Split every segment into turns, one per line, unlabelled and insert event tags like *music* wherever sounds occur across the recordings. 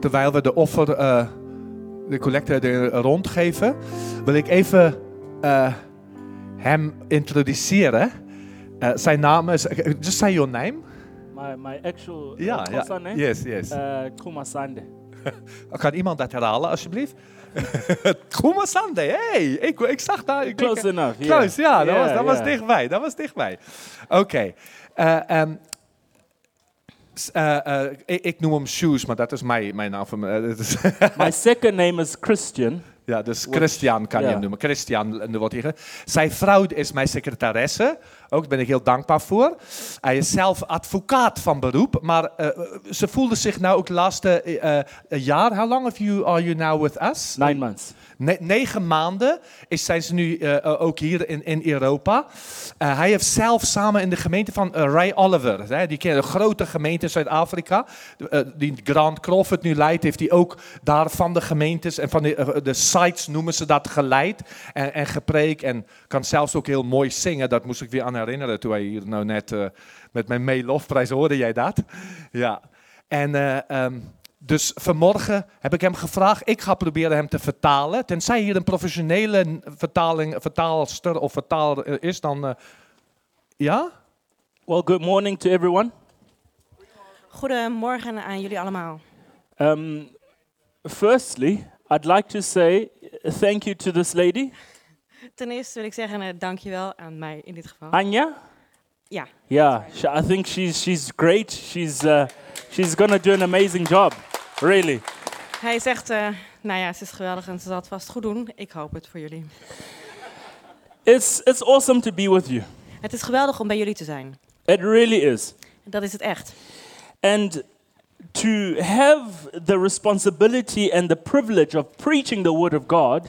terwijl we de offer, eh, de collecte er rondgeven, wil ik even eh, hem introduceren. Eh, zijn naam is, eh, just say your name.
My, my actual uh,
Ja,
Xhosa name?
Yes, yes.
Uh, Kumasande.
Kan iemand dat herhalen, alsjeblieft? *laughs* Kuma Sande, hey! Ik, ik zag daar... Ik
Close
ik-
enough, yeah.
Close, ja, dat,
Yeah,
was, dat was
yeah.
dichtbij, dat was dichtbij. Oké. eh, ehm, s- eh, eh, ik, ik noem hem Shoes, maar dat is mijn, mijn naam. Van, me- *laughs* eh, dat is-
My second name is Christian.
ja, dus Christian kan je hem
ja.
noemen. Christian, en er wordt hier. ge- Zijn vrouw is mijn secretaresse. Ook daar ben ik heel dankbaar voor. Hij is zelf advocaat van beroep. Maar eh, ze voelde zich nou ook laatste eh, eh, jaar. How long have you, are you now with us?
Nine months.
Ne- negen maanden is, zijn ze nu eh, eh, ook hier in, in Europa. Eh, hij heeft zelf samen in de gemeente van eh, Ray Oliver, hè, die kennen een grote gemeente in Zuid-Afrika, eh, die Grant Crawford nu leidt, heeft hij ook daar van de gemeentes en van de, eh, de sites noemen ze dat geleid en, en gepreek en kan zelfs ook heel mooi zingen. Dat moest ik weer aan herinneren toen wij hier nou net eh, met mijn May Lofprijs hoorde jij dat. Ja. En eh, ehm, dus vanmorgen heb ik hem gevraagd. Ik ga proberen hem te vertalen. Tenzij hier een professionele n- vertaling, vertaalster of vertaler eh, is, dan. eh, ja?
Well, good morning to everyone.
Goedemorgen aan jullie allemaal.
Um, firstly, I'd like to say uh, thank you to this lady,
Ten eerste wil ik zeggen eh, dankjewel aan mij in dit geval.
Anya.
Ja,
Yeah, sh- I think she's she's great. She's uh, she's gonna do an amazing job, really.
hij zegt, eh, nou ja, ze is geweldig en ze zal het vast goed doen. Ik hoop het voor jullie.
It's it's awesome to be with you.
Het is geweldig om bij jullie te zijn.
It really is.
Dat is het echt.
And to have the responsibility and the privilege of preaching the word of God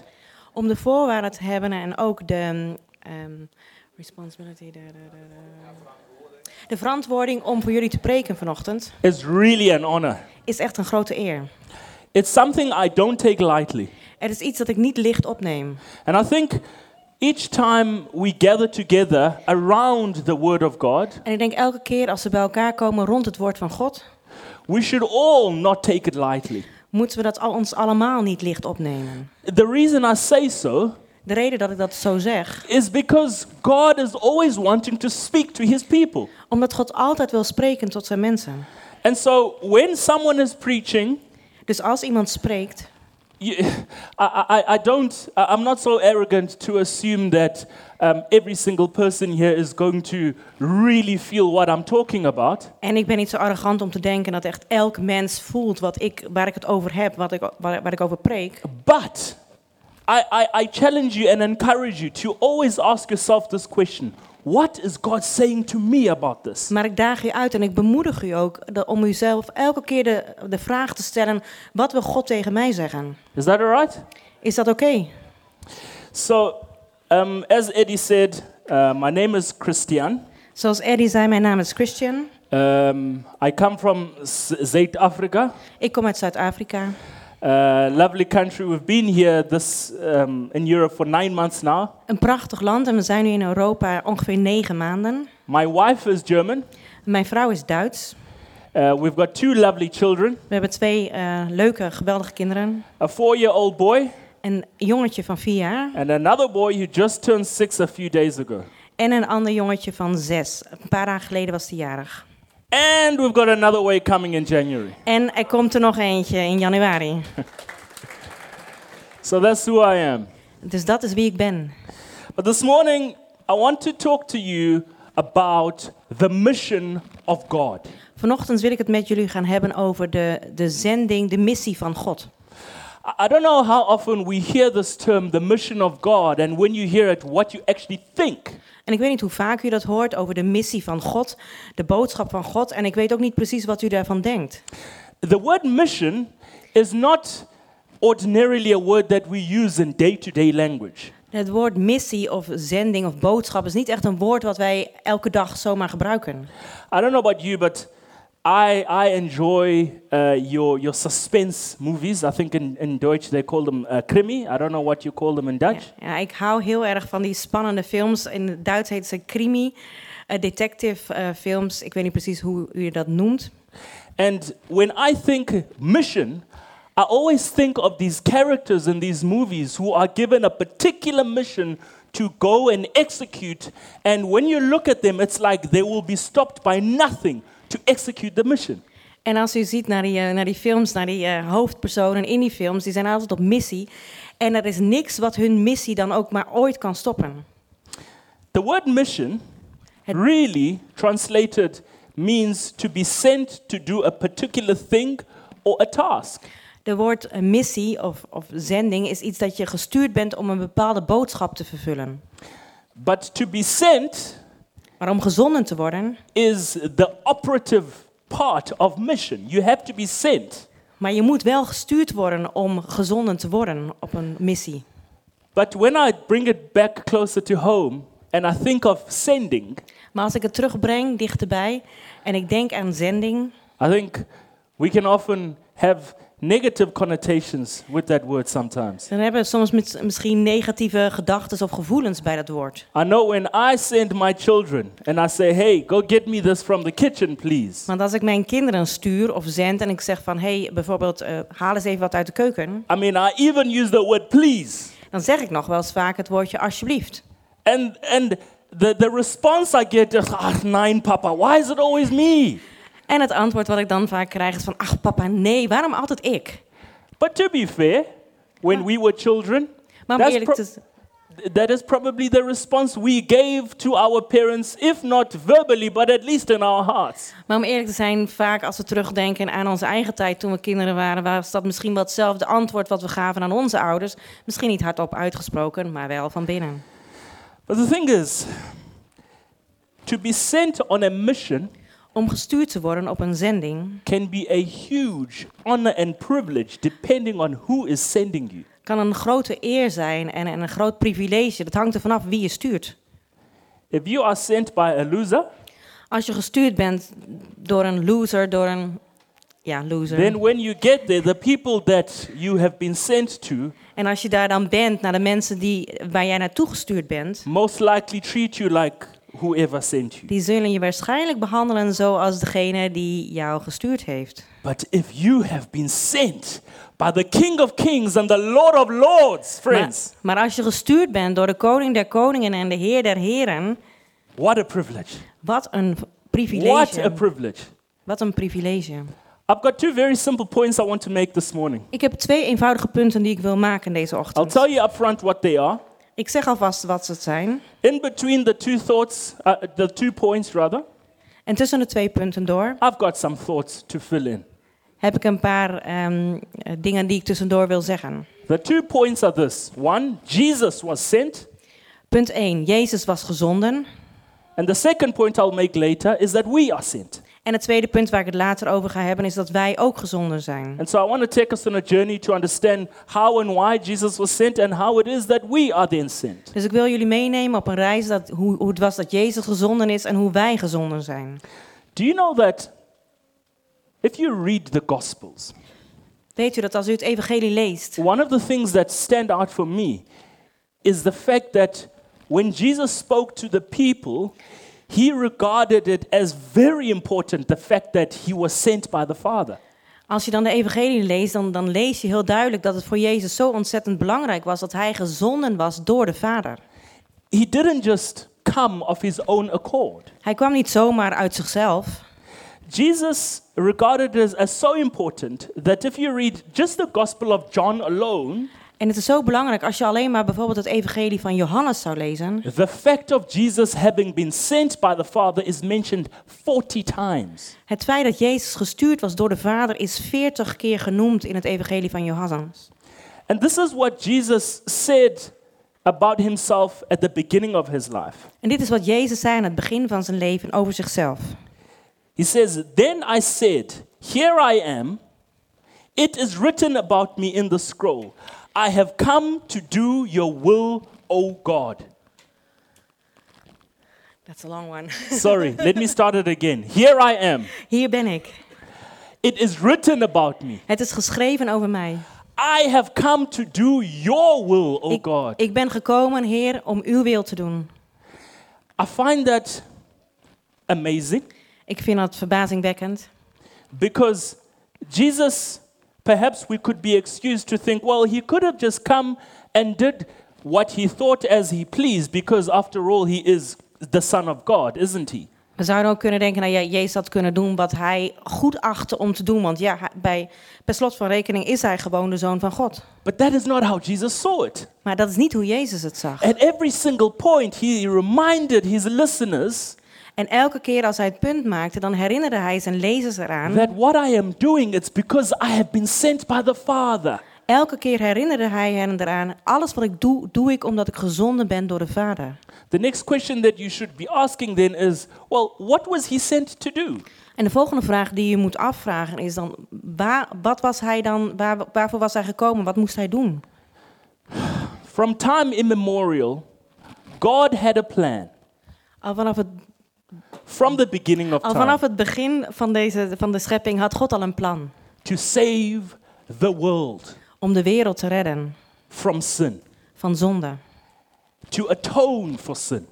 Om de voorwaarden te hebben en ook de ehm, responsibility, de, de, de, de- de verantwoording om voor jullie te preken vanochtend,
is really an honor.
is echt een grote eer.
It's something I don't take lightly.
Het is iets dat ik niet licht opneem.
And I think each time we gather together around the word of God,
En ik denk elke keer als we bij elkaar komen rond het woord van God,
we should all not take it lightly.
moeten we dat al ons allemaal niet licht opnemen.
The reason I say so
De reden dat ik dat zo zeg,
is because God is always wanting to speak to his people.
omdat God altijd wil spreken tot zijn mensen.
And so when someone is preaching,
Dus als iemand spreekt,
you, *laughs* I, I, I don't, I- I'm not so arrogant to assume that um, every single person here is going to really feel what I'm talking about.
en ik ben niet zo arrogant om te denken dat echt elk mens voelt wat ik, waar ik het over heb, wat ik, waar, waar ik over preek.
But I, I, I challenge you and encourage you to always ask yourself this question What is God saying to me about this?
Maar ik daag u uit en ik bemoedig u ook de- om uzelf elke keer de, de vraag te stellen: wat wil God tegen mij zeggen?
Is that all right?
Is dat oké?
So, um, as Eddie said, uh, my name is Christian.
Zoals Eddie zei, mijn naam is Christian.
Um, I come from Zait Africa,
Ik kom uit Zuid-Afrika.
a lovely country. We've been here this, um, in Europe for nine months now.
Een prachtig land en we zijn nu in Europa ongeveer negen maanden.
My wife is German.
Mijn vrouw is Duits.
Uh, we've got two lovely children
We hebben twee eh, leuke, geweldige kinderen.
a four year old boy
Een jongetje van vier jaar
and another boy who just turned six a few days ago.
en een ander jongetje van zes. Een paar dagen geleden was hij jarig.
And we've got another way coming in January.
En er komt er nog eentje in januari.
So that's who I am.
Dus dat is wie ik ben.
But this morning, I want to talk to you about the mission of God.
Vanochtend wil ik het met jullie gaan hebben over de, de zending, de missie van God.
I I don't know how often we hear this term, the mission of God, and when you hear it, what you actually think.
En ik weet niet hoe vaak u dat hoort over de missie van God, de boodschap van God. En ik weet ook niet precies wat u daarvan denkt.
The word mission is not ordinarily a word that we use in day to day language.
Het woord missie of zending of boodschap is niet echt een woord wat wij elke dag zomaar gebruiken.
I don't know about you, but I, I enjoy uh, your, your suspense movies. I think in, in Deutsch they call them uh, krimi. I don't know what you call them in Dutch.
Ja, ik hou heel erg van die spannende films. In het Duits heet ze krimi, eh, detective eh, films. Ik weet niet precies hoe u dat noemt.
And when I think mission, I always think of these characters in these movies who are given a particular mission to go and execute. And when you look at them, it's like they will be stopped by nothing to execute the mission.
En als u ziet naar die, eh, naar die films, naar die eh, hoofdpersonen in die films, die zijn altijd op missie. En er is niks wat hun missie dan ook maar ooit kan stoppen.
The word mission
Het-
really translated means to be sent to do a particular thing or a task.
De woord eh, missie of, of zending is iets dat je gestuurd bent om een bepaalde boodschap te vervullen.
But to be sent
Maar om gezonden te worden,
is the operative part of mission. You have to be sent.
maar je moet wel gestuurd worden om gezonden te worden op een missie.
But when I bring it back closer to home and I think of sending,
Maar als ik het terugbreng dichterbij en ik denk aan zending,
I think we can often have negative connotations with that word sometimes.
dan hebben we soms mis- misschien negatieve gedachten of gevoelens bij dat woord.
I know when I send my children and I say, hey, go get me this from the kitchen, please.
Want als ik mijn kinderen stuur of zend en ik zeg van hé, hey, bijvoorbeeld eh, haal eens even wat uit de keuken,
I mean, I even use the word please.
dan zeg ik nog wel eens vaak het woordje alsjeblieft.
And, and the, the response I get is, ah, nine, Papa, why is it always me?
En het antwoord wat ik dan vaak krijg is van ach papa, nee, waarom altijd ik?
But to be fair, when we were children,
Maar om
That's
eerlijk
pro-
te z-
th- that is probably the response we gave to our parents, if not verbally, but at least in our hearts.
Maar om eerlijk te zijn, vaak als we terugdenken aan onze eigen tijd toen we kinderen waren, was dat misschien wel hetzelfde antwoord wat we gaven aan onze ouders. Misschien niet hardop uitgesproken, maar wel van binnen.
But the thing is, to be sent on a mission
Om gestuurd te worden op een zending
can be a huge honor and privilege depending on who is sending you.
kan een grote eer zijn en en een groot privilege. Dat hangt er vanaf wie je stuurt.
If you are sent by a loser,
Als je gestuurd bent door een loser, door een ja, loser.
then when you get there, the people that you have been sent to
en als je daar dan bent naar de mensen die, waar jij naartoe gestuurd bent,
most likely treat you like whoever sent you.
die zullen je waarschijnlijk behandelen zoals degene die jou gestuurd heeft.
But if you have been sent by the King of Kings and the Lord of Lords,
Maar,
friends,
maar als je gestuurd bent door de koning der koningen en de heer der heren,
what a privilege.
wat een
What
privilege.
a privilege.
wat een privilege.
I've got two very simple points I want to make this morning.
Ik heb twee eenvoudige punten die ik wil maken deze
I'll
ochtend.
tell you up front what they are.
Ik zeg alvast wat ze zijn.
In between the two thoughts, uh, the two points rather,
En tussen de twee punten door
I've got some thoughts to fill in.
heb ik een paar ehm, eh, dingen die ik tussendoor wil zeggen.
The two points are this one, Jesus was sent.
Punt 1. Jezus was gezonden.
And the second point I'll make later is that we are sent.
En het tweede punt waar ik het later over ga hebben is dat wij ook gezonden zijn.
And so I want to take us on a journey to understand how and why Jesus was sent and how it is that we are then sent.
Dus ik wil jullie meenemen op een reis dat, hoe, hoe het was dat Jezus gezonden is en hoe wij gezonden zijn.
Do you know that if you read the Gospels,
Weet u dat als u het evangelie leest,
one of the things that stand out for me is the fact that when Jesus spoke to the people, he regarded it as very important the fact that he was sent by the Father.
als je dan de evangelie leest, dan, dan lees je heel duidelijk dat het voor Jezus zo ontzettend belangrijk was dat hij gezonden was door de Vader.
He didn't just come of his own accord.
Hij kwam niet zomaar uit zichzelf.
Jesus regarded it as, as so important that if you read just the Gospel of John alone,
En het is zo belangrijk als je alleen maar bijvoorbeeld het evangelie van Johannes zou lezen,
the fact of Jesus having been sent by the Father is mentioned 40 times.
Het feit dat Jezus gestuurd was door de Vader is veertig keer genoemd in het Evangelie van Johannes.
And this is what Jesus said about himself at the beginning of his life.
En dit is wat Jezus zei aan het begin van zijn leven over zichzelf.
He says, Then I said, Here I am. It is written about me in the scroll. I have come to do your will, O God.
That's a long one. *laughs*
Sorry, let me start it again. Here I am.
Hier ben ik.
It is written about me.
Het is geschreven over mij.
I have come to do your will, O
ik,
God.
ik ben gekomen, Heer, om uw wil te doen.
I find that amazing
Ik vind dat verbazingwekkend.
because Jesus perhaps we could be excused to think, well, he could have just come and did what he thought as he pleased, because after all, he is the Son of God, isn't he?
We zouden ook kunnen denken, nou ja, Jezus had kunnen doen wat hij goed achtte om te doen. Want ja, hij- bij, per slot van rekening is hij gewoon de zoon van God.
But that is not how Jesus saw it.
Maar dat is niet hoe Jezus het zag.
At every single point, he reminded his listeners
En elke keer als hij het punt maakte, dan herinnerde hij zijn lezers eraan.
that what I am doing is because I have been sent by the Father.
Elke keer herinnerde hij hen eraan, alles wat ik doe, doe ik omdat ik gezonden ben door de Vader.
The next question that you should be asking then is well, what was he sent to do?
En de volgende vraag die je moet afvragen is dan, waar, wat was hij dan, waar, waarvoor was hij gekomen? Wat moest hij doen?
From time immemorial, God had a plan
Al vanaf het,
from the beginning of
al
time
vanaf het begin van, deze, van de schepping had God al een plan
to save the world
om de wereld te redden
from sin,
van zonde.
to atone for sin.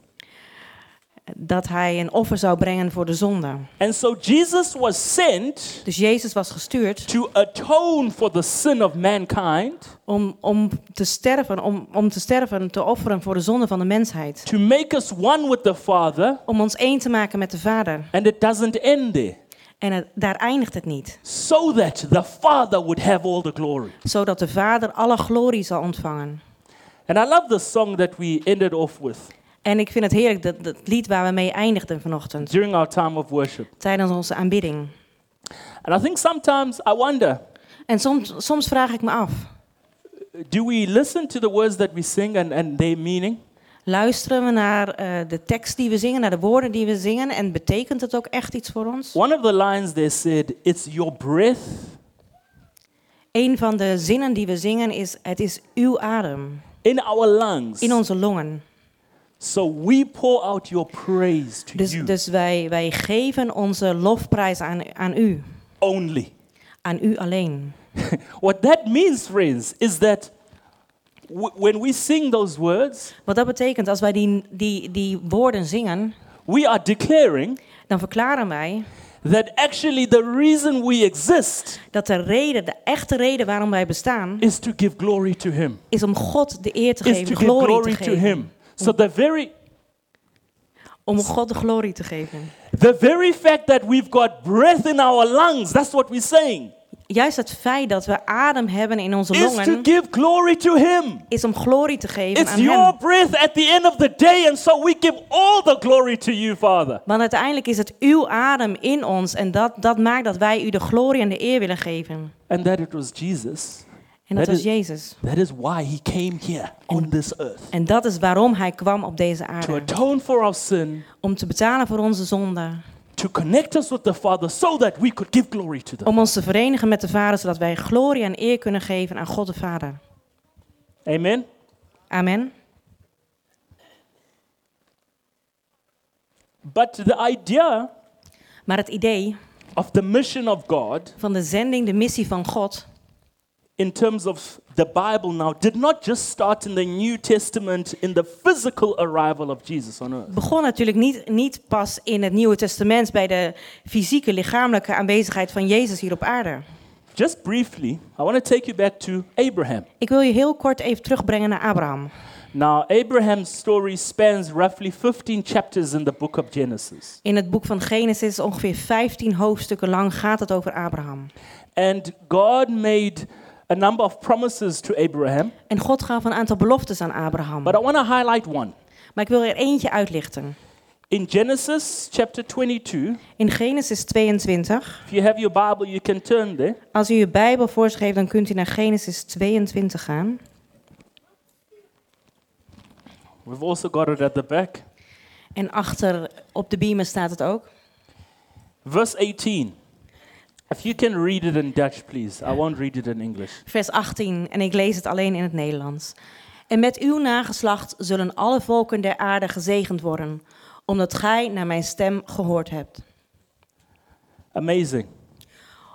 Dat hij een offer zou brengen voor de zonde.
And so Jesus was sent
Dus Jezus was gestuurd
to atone for the sin of mankind,
om, om te sterven, om, om te sterven, te offeren voor de zonde van de mensheid.
to make us one with the Father,
Om ons één te maken met de Vader.
and it doesn't end there.
En het- daar eindigt het niet.
so that the Father would have all the glory.
Zodat de Vader alle glorie zal ontvangen.
And I love the song that we ended off with
En ik vind het heerlijk, dat, dat lied waar we mee eindigden vanochtend.
during our time of worship.
Tijdens onze aanbidding.
And I think sometimes I wonder
En soms, soms vraag ik me af.
do we listen to the words that we sing and, and their meaning?
Luisteren we naar eh, de tekst die we zingen, naar de woorden die we zingen? En betekent het ook echt iets voor ons?
One of the lines there said, It's your breath
Een van de zinnen die we zingen is: Het is uw adem
in our lungs.
in onze longen.
so we pour out your praise to
Dus,
you
dus wij, wij geven onze lofprijs aan, aan u.
only.
Aan u alleen.
What that means, friends, is that w- when we sing those words,
Wat dat betekent, als wij die, die, die woorden zingen,
we are declaring
dan verklaren wij
that actually the reason we exist
dat de reden, de echte reden waarom wij bestaan,
is to give glory to him.
is om God de eer te
Is to
geven,
give
glorie
glory
te
to
geven.
him. So the very
Om God de glorie te geven.
the very fact that we've got breath in our lungs, that's what we're saying,
Juist het feit dat we adem hebben in onze
is to
longen,
give glory to him.
is om glorie te geven
It's
aan
your
hem.
breath at the end of the day, and so we give all the glory to you, Father.
Want uiteindelijk is het uw adem in ons en dat, dat maakt dat wij u de glorie en de eer willen geven.
And that it was Jesus.
En dat
That
was
is-
Jezus.
That is why he came here on this earth
En dat is waarom hij kwam op deze
to
aarde.
atone for our sin,
Om te betalen voor onze zonden.
to connect us with the Father, so that we could give glory to them.
Om ons te verenigen met de Vader, zodat wij glorie en eer kunnen geven aan God de Vader.
Amen.
Amen.
But the idea
Maar het idee
of the mission of God
van de zending, de missie van God,
in terms of the Bible now did not just start in the New Testament in the physical arrival of Jesus on earth.
begon natuurlijk niet, niet pas in het Nieuwe Testament bij de fysieke, lichamelijke aanwezigheid van Jezus hier op aarde.
Just briefly, I want to take you back to Abraham.
Ik wil je heel kort even terugbrengen naar Abraham.
Now, Abraham's story spans roughly 15 chapters in the book of Genesis.
In het boek van Genesis, ongeveer 15 hoofdstukken lang, gaat het over Abraham.
And God made a number of promises to Abraham,
En God gaf een aantal beloftes aan Abraham.
but I want to highlight one.
Maar ik wil er eentje uitlichten.
In Genesis chapter 22,
In Genesis 22,
if you have your Bible, you can turn there.
als u uw Bijbel voor zich heeft, dan kunt u naar Genesis 22 gaan.
We've also got it at the back.
En achter op de biemen staat het ook.
Verse 18. If you can read it in Dutch, please. I won't read it in English.
vers 18, en ik lees het alleen in het Nederlands. En met uw nageslacht zullen alle volken der aarde gezegend worden, omdat gij naar mijn stem gehoord hebt.
Amazing.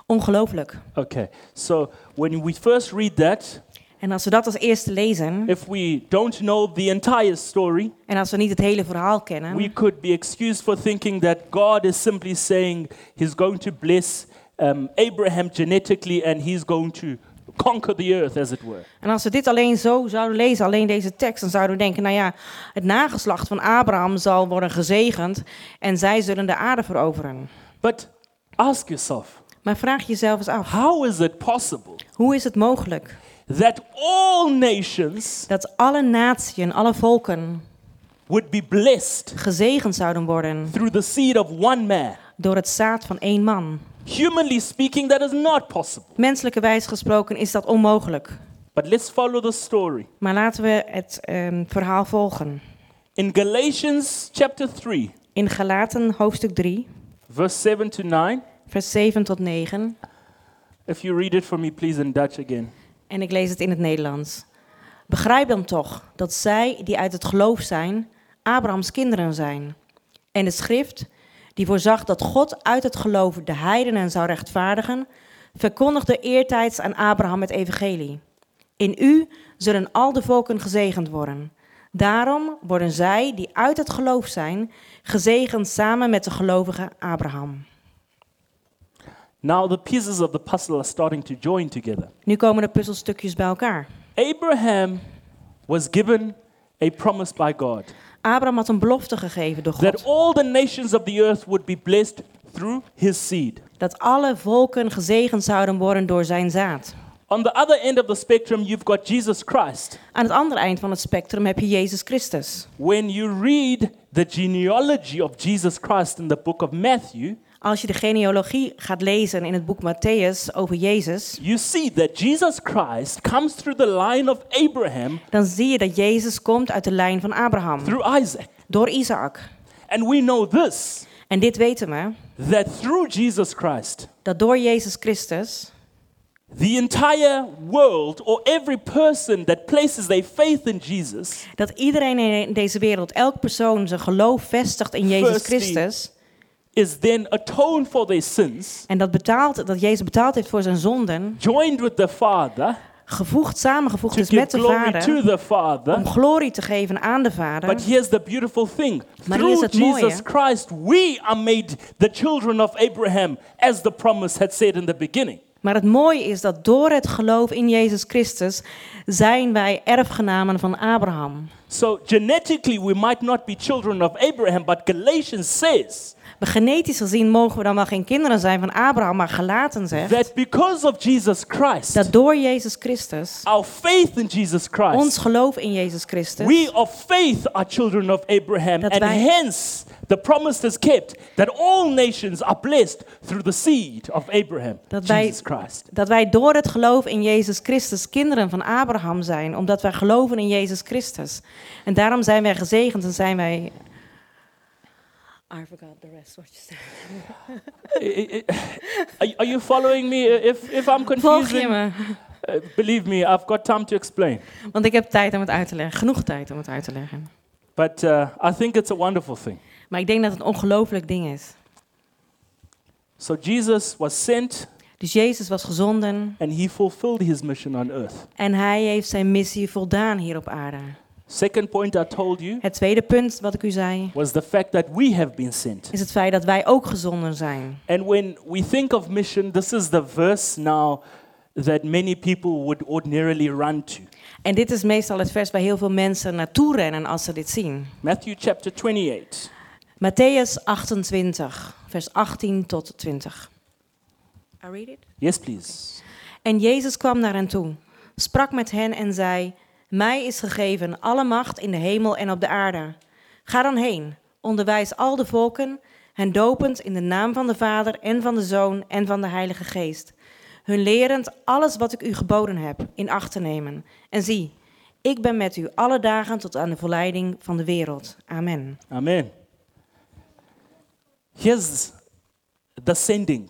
Ongelooflijk.
Okay. So when we first read that,
En als we dat als eerste lezen,
if we don't know the entire story,
en als we niet het hele verhaal kennen,
we could be excused for thinking that God is simply saying he's going to bless um, Abraham genetically and he's going to conquer the earth, as it were.
En als we dit alleen zo zouden lezen, alleen deze tekst, dan zouden we denken: nou ja, het nageslacht van Abraham zal worden gezegend en zij zullen de aarde veroveren.
But ask yourself,
Maar vraag jezelf eens af:
how is it possible
hoe is het mogelijk
that all nations
dat alle naties en alle volken
would be blessed
gezegend zouden worden
through the seed of one man?
door het zaad van één man?
Humanly speaking, that is not possible.
Menselijke wijs gesproken is dat onmogelijk.
But let's follow the story.
Maar laten we het ehm, verhaal volgen.
In Galatians chapter 3,
In Galaten hoofdstuk 3,
verse 7 to 9,
vers 7 tot 9.
if you read it for me, please, in Dutch again.
En ik lees het in het Nederlands. Begrijp dan toch dat zij die uit het geloof zijn, Abrahams kinderen zijn. En de schrift, die voorzag dat God uit het geloof de heidenen zou rechtvaardigen, verkondigde eertijds aan Abraham het evangelie. In u zullen al de volken gezegend worden. Daarom worden zij die uit het geloof zijn, gezegend samen met de gelovige Abraham.
Now the pieces of the puzzle are starting to join together.
Nu komen de puzzelstukjes bij elkaar.
Abraham was given a promise by God
Abraham had een belofte gegeven door God.
that all the nations of the earth would be blessed through his seed.
dat alle volken gezegend zouden worden door zijn zaad.
On the other end of the spectrum, you've got Jesus Christ.
Aan het andere eind van het spectrum heb je Jezus Christus.
When you read the genealogy of Jesus Christ in the book of Matthew,
Als je de genealogie gaat lezen in het boek Matthäus over Jezus,
you see that Jesus Christ comes through the line of Abraham
dan zie je dat Jezus komt uit de lijn van Abraham,
through Isaac.
door Isaac.
And we know this
En dit weten we,
that through Jesus Christ,
dat door Jezus Christus
the entire world or every person that places their faith in Jesus
dat iedereen in deze wereld, elk persoon zijn geloof vestigt in Jezus
Firstly.
Christus
is then atoned for their sins,
en dat betaalt dat Jezus betaald heeft voor zijn zonden,
joined with the Father
gevoegd samengevoegd
to
is met
give
de
glory to
Vader
the
om
Father.
glorie te geven aan de Vader.
But here's the beautiful thing.
Maar hier is
Through
het mooie.
Jesus Christ, we are made the children of Abraham, as the promise had said in the beginning.
Maar het mooie is dat door het geloof in Jezus Christus zijn wij erfgenamen van Abraham.
So genetically, we might not be children of Abraham, but Galatians says
Maar genetisch gezien mogen we dan wel geen kinderen zijn van Abraham, maar gelaten zegt
that because of Jesus Christ,
dat door Jezus Christus,
our faith in Jesus
ons
Christ,
geloof in Jezus Christus,
we of faith are children of Abraham,
Dat
and
wij-
hence the promise is kept that all nations are blessed through the seed of Abraham,
Dat wij-
Jesus Christ.
dat wij door het geloof in Jezus Christus kinderen van Abraham zijn, omdat wij geloven in Jezus Christus. En daarom zijn wij gezegend en zijn wij. I forgot the rest what you said.
I- I- Are are you following me? If, if I'm
Volg je
confusing,
me?
uh, believe me, I've got time to explain.
Want ik heb tijd om het uit te leggen, genoeg tijd om het uit te leggen.
But uh, I think it's a wonderful thing.
Maar ik denk dat het een ongelooflijk ding is.
So Jesus was sent
Dus Jezus was gezonden
and he fulfilled his mission on earth.
en hij heeft zijn missie voldaan hier op aarde.
Second point I told you
Het tweede punt wat ik u zei,
was the fact that we have been sent.
is het feit dat wij ook gezonden zijn.
And when we think of mission, this is the verse now that many people would ordinarily run to.
En dit is meestal het vers waar heel veel mensen naartoe rennen als ze dit zien.
Matthew chapter 28.
Matthäus 28, vers 18 tot 20. I read it.
Yes, please.
En Jezus kwam naar hen toe, sprak met hen en zei: Mij is gegeven alle macht in de hemel en op de aarde. Ga dan heen, onderwijs al de volken, hen dopend in de naam van de Vader en van de Zoon en van de Heilige Geest. Hun lerend alles wat ik u geboden heb in acht te nemen. En zie, ik ben met u alle dagen tot aan de verleiding van de wereld. Amen.
Amen. Here's the sending.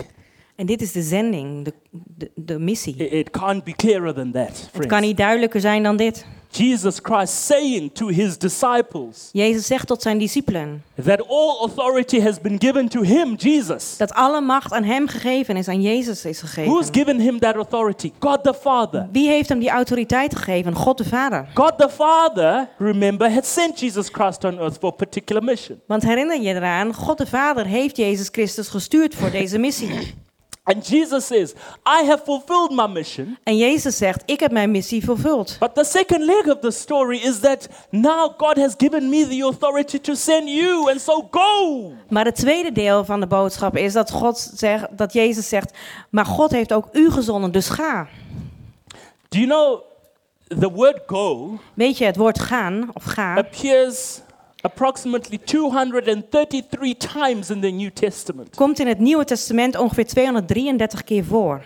En dit is de zending, de, de, de
I-
missie.
It can't be clearer than that,
Het kan
friends.
niet duidelijker zijn dan dit.
Jesus Christ saying to his disciples
Jezus zegt tot zijn discipelen.
that all authority has been given to him, Jesus.
Dat alle macht aan hem gegeven is, aan Jezus is
Who's
gegeven.
given him that authority? God the Father.
Wie heeft hem die autoriteit gegeven? God de Vader.
God the Father, remember, had sent Jesus Christ on earth for a particular mission.
Want herinner je eraan, God de Vader heeft Jezus Christus gestuurd voor deze missie.
And Jesus says, I have fulfilled my mission.
En Jezus zegt, ik heb mijn missie vervuld.
But the second leg of the story is that now God has given me the authority to send you, and so go.
Maar het tweede deel van de boodschap is dat, God zegt, dat Jezus zegt, maar God heeft ook u gezonden, dus ga.
Do you know the word go
Weet je, het woord gaan of gaan
appears approximately 233 times in the New Testament?
komt in het Nieuwe Testament ongeveer 233 keer voor.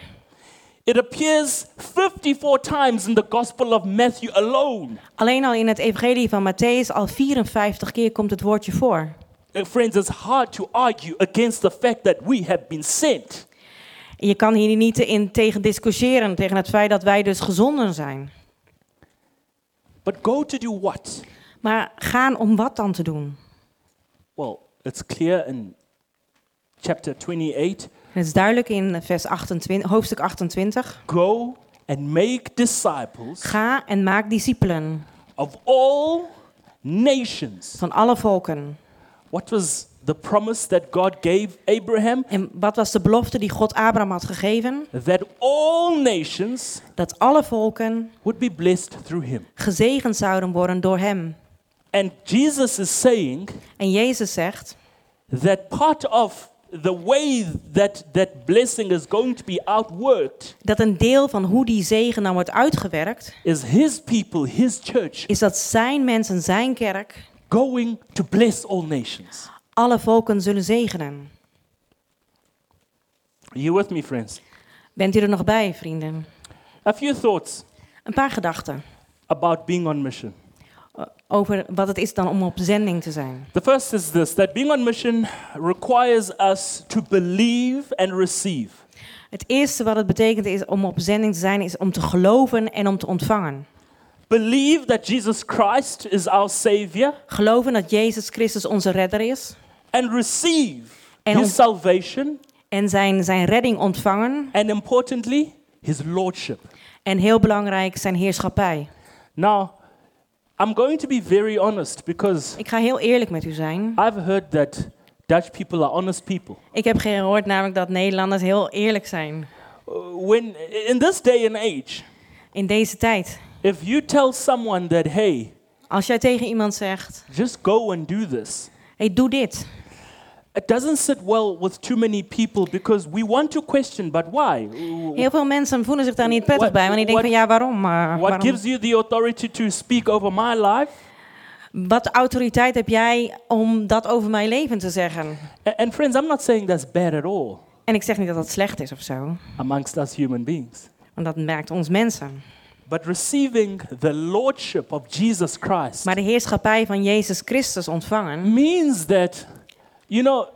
It appears 54 times in the Gospel of Matthew alone.
Alleen al in het evangelie van Matthäus al 54 keer komt het woordje voor.
Uh, Friends, it's hard to argue against the fact that we have been sent.
En Je kan hier niet in tegen discussiëren, tegen het feit dat wij dus gezonden zijn.
But go to do what?
Maar gaan om wat dan te doen?
Well, it's clear in chapter 28
Het is duidelijk in vers 28, hoofdstuk 28.
go and make disciples
Ga en maak discipelen
of all nations.
van alle volken.
What was the promise that God gave Abraham?
En wat was de belofte die God Abraham had gegeven?
That all nations
Dat alle volken
would be blessed through him.
gezegend zouden worden door hem.
And Jesus is saying
En Jezus zegt
that part of the way that that blessing is going to be outworked
dat een deel van hoe die zegen dan wordt uitgewerkt,
is his people, his church,
is dat zijn mensen, zijn kerk,
going to bless all nations.
alle volken zullen zegenen.
Are you with me, friends?
Bent u er nog bij, vrienden?
A few thoughts
Een paar gedachten
about being on mission.
eh, over wat het is dan om op zending te zijn.
The first is this that being on mission requires us to believe and receive.
Het eerste wat het betekent is om op zending te zijn, is om te geloven en om te ontvangen.
Believe that Jesus Christ is our Savior
Geloven dat Jezus Christus onze redder is
and receive
En
His
ont-
salvation
en zijn, zijn redding ontvangen
and, importantly, His Lordship.
en heel belangrijk zijn heerschappij.
Now, I'm going to be very honest because
Ik ga heel eerlijk met u zijn.
I've heard that Dutch people are honest people.
Ik heb gehoord namelijk dat Nederlanders heel eerlijk zijn.
Uh, When, in this day and age,
In deze tijd.
if you tell someone that, hey,
Als jij tegen iemand zegt,
just go and do this,
hey, doe dit.
It doesn't sit well with too many people because we want to question, but why?
Heel veel mensen voelen zich daar niet prettig
What-
bij, want die denken van
what-
ja, waarom? Maar
What
waarom?
gives you the authority to speak over my life?
Wat autoriteit heb jij om dat over mijn leven te zeggen?
A- And friends, I'm not saying that's bad at all
En ik zeg niet dat dat slecht is of zo,
amongst us human beings.
want dat merkt ons mensen.
But receiving the lordship of Jesus Christ
Maar de heerschappij van Jezus Christus ontvangen
means that, you know,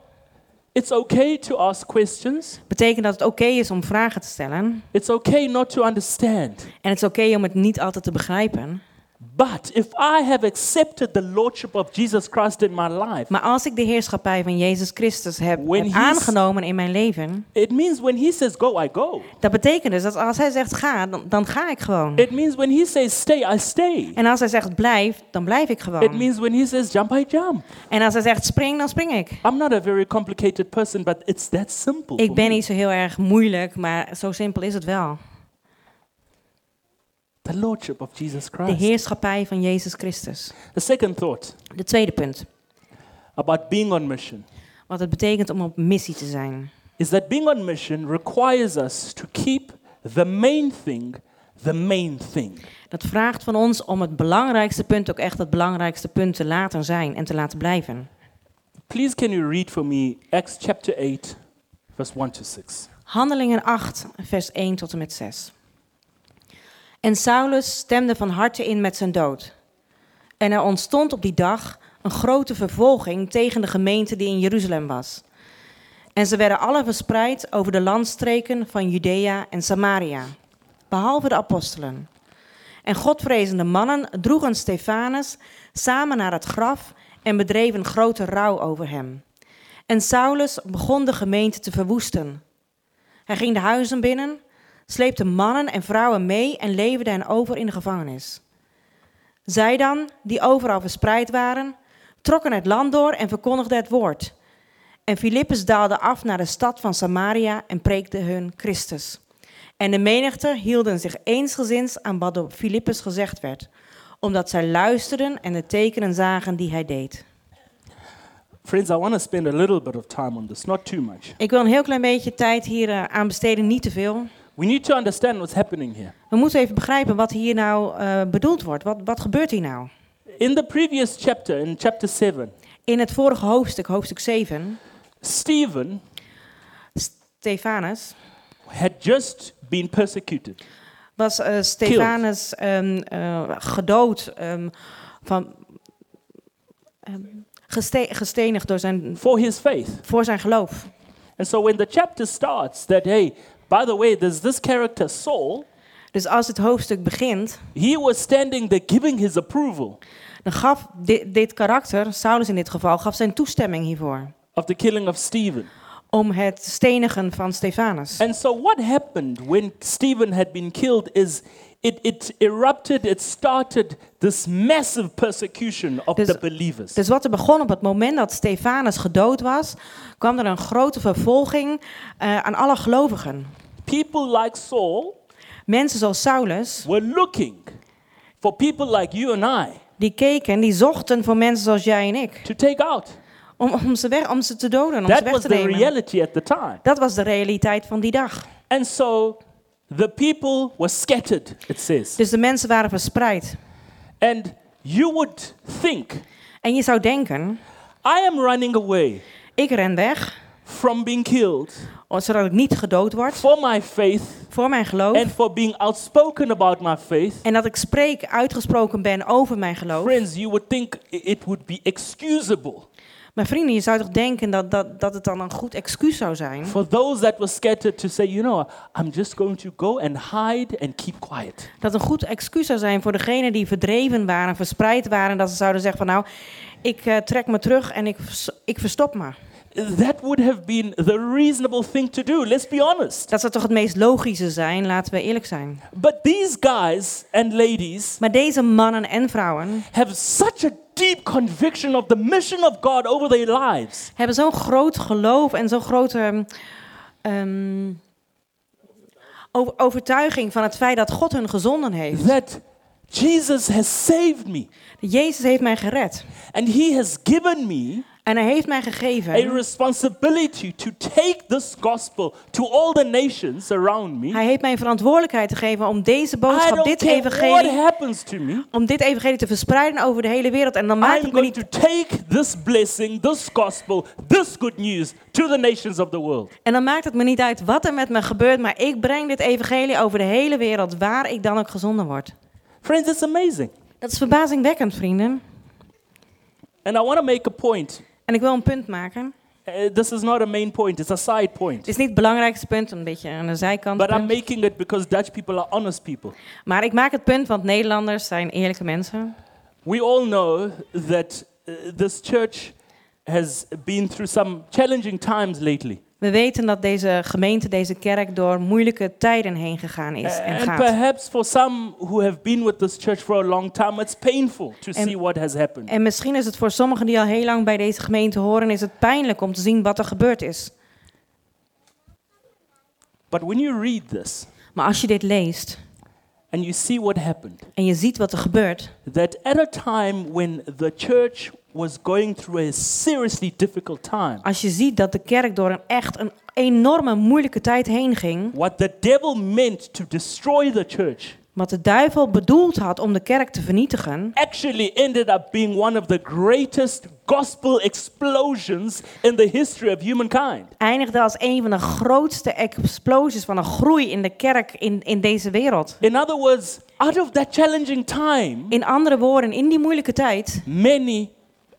it's okay to ask questions.
betekent dat het oké is om vragen te stellen.
It's okay not to understand.
En het is oké om het niet altijd te begrijpen.
But if I have accepted the lordship of Jesus Christ in my life,
Maar als ik de heerschappij van Jezus Christus heb,
When
heb
he's-
aangenomen in mijn leven,
it means when he says go, I go.
dat betekent dus dat als hij zegt ga, dan, dan ga ik gewoon.
It means when he says stay, I stay.
En als hij zegt blijf, dan blijf ik
It
gewoon.
means when he says jump, I jump.
En als hij zegt spring, dan spring ik.
I'm not a very complicated person, but it's that simple.
Ik
for
ben
me.
niet zo heel erg moeilijk, maar zo simpel is het wel.
The Lordship of Jesus
De
Christ.
heerschappij van Jezus Christus.
The second thought
De tweede punt.
about being on mission
Wat het betekent om op missie te zijn.
is that being on mission requires us to keep the main thing the main thing.
Dat vraagt van ons om het belangrijkste punt ook echt het belangrijkste punt te laten zijn en te laten blijven.
Please, can you read for me Acts chapter 8, verse 1 to 6?
Handelingen 8, vers 1 tot en met 6. En Saulus stemde van harte in met zijn dood. En er ontstond op die dag een grote vervolging tegen de gemeente die in Jeruzalem was. En ze werden alle verspreid over de landstreken van Judea en Samaria, behalve de apostelen. En godvrezende mannen droegen Stefanus samen naar het graf en bedreven grote rouw over hem. En Saulus begon de gemeente te verwoesten. Hij ging de huizen binnen, sleepte mannen en vrouwen mee en leverde hen over in de gevangenis. Zij dan, die overal verspreid waren, trokken het land door en verkondigden het woord. En Filippus daalde af naar de stad van Samaria en preekte hun Christus. En de menigte hielden zich eensgezins aan wat door Filippus gezegd werd, omdat zij luisterden en de tekenen zagen die hij deed.
Friends, I want to spend a little bit of time on this, not too much.
Ik wil een heel klein beetje tijd hier eh, aan besteden, niet te veel.
We need to understand what's happening here.
We moeten even begrijpen wat hier nou eh, bedoeld wordt. Wat, wat gebeurt hier nou?
In the previous chapter, in chapter 7,
In het vorige hoofdstuk, hoofdstuk 7,
Stephen
Stefanus,
had just been persecuted.
was eh Stefanus ehm, eh, gedood, ehm, van, ehm, geste- gestenigd door zijn,
for his faith.
voor zijn geloof.
And so when the chapter starts, that hey, by the way, there's this character Saul.
Dus als het hoofdstuk begint,
He was standing there giving his approval
dan gaf di- dit karakter, Saulus in dit geval, gaf zijn toestemming hiervoor.
of the killing of Stephen.
Om het stenigen van Stefanus.
And so what happened when Stephen had been killed is it, it erupted, it started this massive persecution of
There's-
the believers.
Dus wat er begon op het moment dat Stefanus gedood was, kwam er een grote vervolging eh, aan alle gelovigen.
People like Saul
Mensen zoals Saulus,
were looking for people like you and I
die keken, die zochten voor mensen zoals jij en ik.
to take out.
Om, om, ze, weg, om ze te doden, om ze
That
weg
was
te
the
nemen.
reality at the time.
Dat was de realiteit van die dag.
And so the people were scattered, it says.
Dus de mensen waren verspreid.
And you would think,
En je zou denken,
I am running away
ik ren weg, oh,
from being killed
zodat ik niet gedood word
for my faith
voor mijn geloof.
and for being outspoken about my faith.
En dat ik spreek, uitgesproken ben over mijn geloof.
Friends, you would think i- it would be excusable
Maar vrienden, je zou toch denken dat, dat, dat het dan een goed excuus zou zijn?
for those that were scattered to say, you know, I'm just going to go and hide and keep quiet.
Dat een goed excuus zou zijn voor degenen die verdreven waren, verspreid waren. Dat ze zouden zeggen van nou, ik eh, trek me terug en ik, vers- ik verstop me.
That would have been the reasonable thing to do, let's be honest.
Dat zou toch het meest logische zijn, laten we eerlijk zijn.
But these guys and ladies
Maar deze mannen en vrouwen
have such a deep conviction of the mission of God over their lives
hebben zo'n groot geloof en zo'n grote ehm, ehm, o- overtuiging van het feit dat God hun gezonden heeft.
that Jesus has saved me
Jezus heeft mij gered
and he has given me
en hij heeft mij
a
gegeven.
responsibility to take this gospel to all the nations around me.
Hij heeft mij verantwoordelijkheid gegeven om deze
I
boodschap,
don't
dit
care what
evangelie,
happens to me.
om dit evangelie te verspreiden over de hele wereld. En dan maakt
I'm
het me
going
niet
to take this blessing, this gospel, this good news to the nations of the world.
En dan maakt het me niet uit wat er met me gebeurt, maar ik breng dit evangelie over de hele wereld, waar ik dan ook gezonden word.
Friends, it's amazing.
Dat is verbazingwekkend, vrienden.
And I want to make a point.
En ik wil een punt maken.
Uh, this is not a main point, it's a side
Het
point.
is niet het belangrijkste punt, een beetje aan de zijkant.
But I'm
punt.
making it because Dutch people are honest people.
Maar ik maak het punt, want Nederlanders zijn eerlijke mensen.
We all know that uh, this church has been through some challenging times lately.
We weten dat deze gemeente, deze kerk, door moeilijke tijden heen gegaan is en
And
gaat.
perhaps for some who have been with this church for a long time, it's painful to
And-
see what has happened.
En misschien is het voor sommigen die al heel lang bij deze gemeente horen, is het pijnlijk om te zien wat er gebeurd is.
But when you read this
Maar als je dit leest
and you see what happened,
en je ziet wat er gebeurt,
that at a time when the church was going through a seriously difficult time,
Als je ziet dat de kerk door een echt een enorme moeilijke tijd heen ging,
what the devil meant to destroy the church
wat de duivel bedoeld had om de kerk te vernietigen,
actually ended up being one of the greatest gospel explosions in the history of humankind.
eindigde als een van de grootste explosies van een groei in de kerk in, in deze wereld.
In other words, out of that challenging time,
In andere woorden, in die moeilijke tijd
many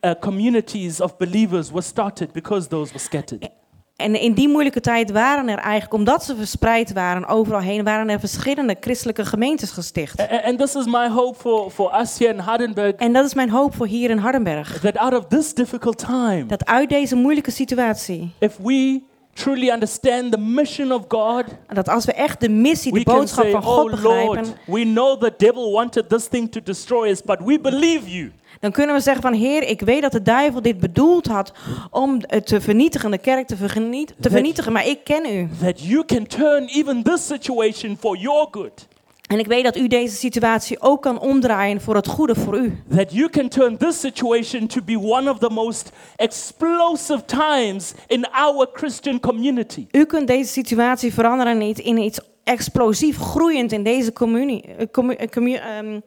uh, communities of believers were started because those were scattered.
en in die moeilijke tijd waren er eigenlijk, omdat ze verspreid waren overal heen, waren er verschillende christelijke gemeentes
A-
gesticht.
a- And this is my hope for, for us here in Hardenberg
En dat is mijn hoop voor hier in Hardenberg.
that out of this difficult time,
Dat uit deze moeilijke situatie,
if we truly understand the mission of God,
Dat als we echt de missie, de
we can
boodschap
say,
van
Oh
God
Lord,
begrijpen,
we know the devil wanted this thing to destroy us, but we believe you.
dan kunnen we zeggen van Heer, ik weet dat de duivel dit bedoeld had om het te vernietigen, de kerk te, vergeniet- te vernietigen, maar ik ken u.
that you can turn even this situation for your good.
En ik weet dat u deze situatie ook kan omdraaien voor het goede voor u.
That you can turn this situation to be one of the most explosive times in our Christian community.
U kunt deze situatie veranderen in iets, in iets explosief groeiend in deze, communie, eh, commu- eh, commu- ehm,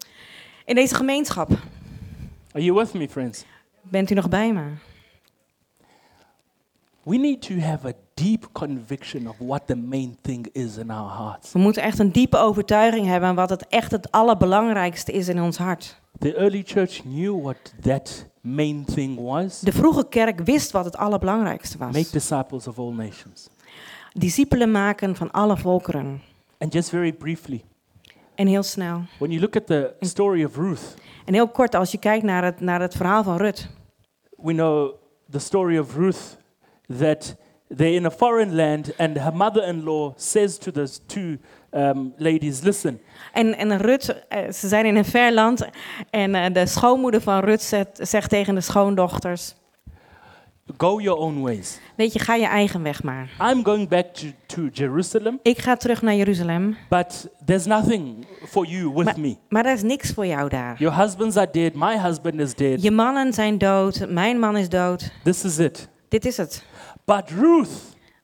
in deze gemeenschap.
Are you with me, friends?
Bent u nog bij me?
We need to have a deep conviction of what the main thing is in our hearts.
We moeten echt een diepe overtuiging hebben wat het echt het allerbelangrijkste is in ons hart.
The early church knew what that main thing was
De vroege kerk wist wat het allerbelangrijkste
make
was.
disciples of all nations.
Discipelen maken van alle volkeren.
And just very briefly,
En heel snel.
when you look at the story of Ruth,
En heel kort, als je kijkt naar het, naar het verhaal van Rut.
we know the story of Ruth that they're in a foreign land, and her mother in law says to those two um, ladies, Listen,
En, en Rut, eh, ze zijn in een ver land. En eh, de schoonmoeder van Rut zegt, zegt tegen de schoondochters...
go your own ways.
Weet je, ga je eigen weg maar.
I'm going back to, to Jerusalem,
Ik ga terug naar Jeruzalem,
but there's nothing for you with me.
maar er is niks voor jou daar.
Your husbands are dead, my husband is dead.
Je mannen zijn dood, mijn man is dood.
This is it.
Dit is het.
But Ruth,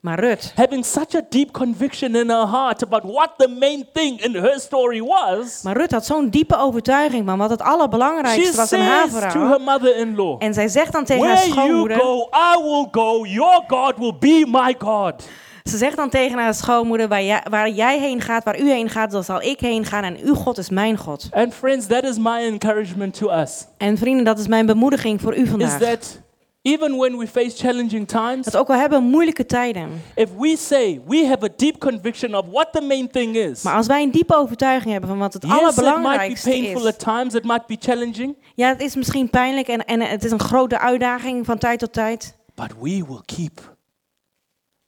Maar Rut,
having such a deep conviction in her heart about what the main thing in her story was,
maar Rut had zo'n diepe overtuiging van wat het
she
allerbelangrijkste was aan haar
says to
verhaal.
her mother in law,
En zij zegt dan tegen haar
Where you
schoonmoeder,
go, I will go. Your God will be my God.
ze zegt dan tegen haar schoonmoeder, waar jij, waar jij heen gaat, waar u heen gaat, dan zal ik heen gaan en uw God is mijn God.
And friends, that is my encouragement to us.
En vrienden, dat is mijn bemoediging voor u
Is
vandaag.
that even when we face challenging times,
Dat ook al hebben we moeilijke tijden,
if we say we have a deep conviction of what the main thing is,
maar als wij een diepe overtuiging hebben van wat het
yes, it might be
allerbelangrijkste
painful
is,
at times, it might be challenging,
Ja, het is misschien pijnlijk en, en het is een grote uitdaging van tijd tot tijd.
but we will keep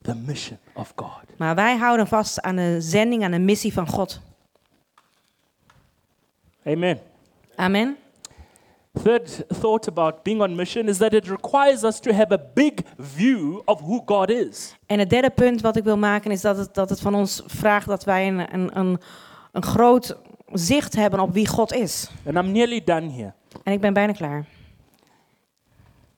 the mission of God.
Maar wij houden vast aan de zending, aan de missie van God.
Amen.
Amen.
Third thought about being on mission is that it requires us to have a big view of who God is.
En het derde punt wat ik wil maken is dat het, dat het van ons vraagt dat wij een, een, een, een groot zicht hebben op wie God is.
And I'm nearly done here.
En ik ben bijna klaar.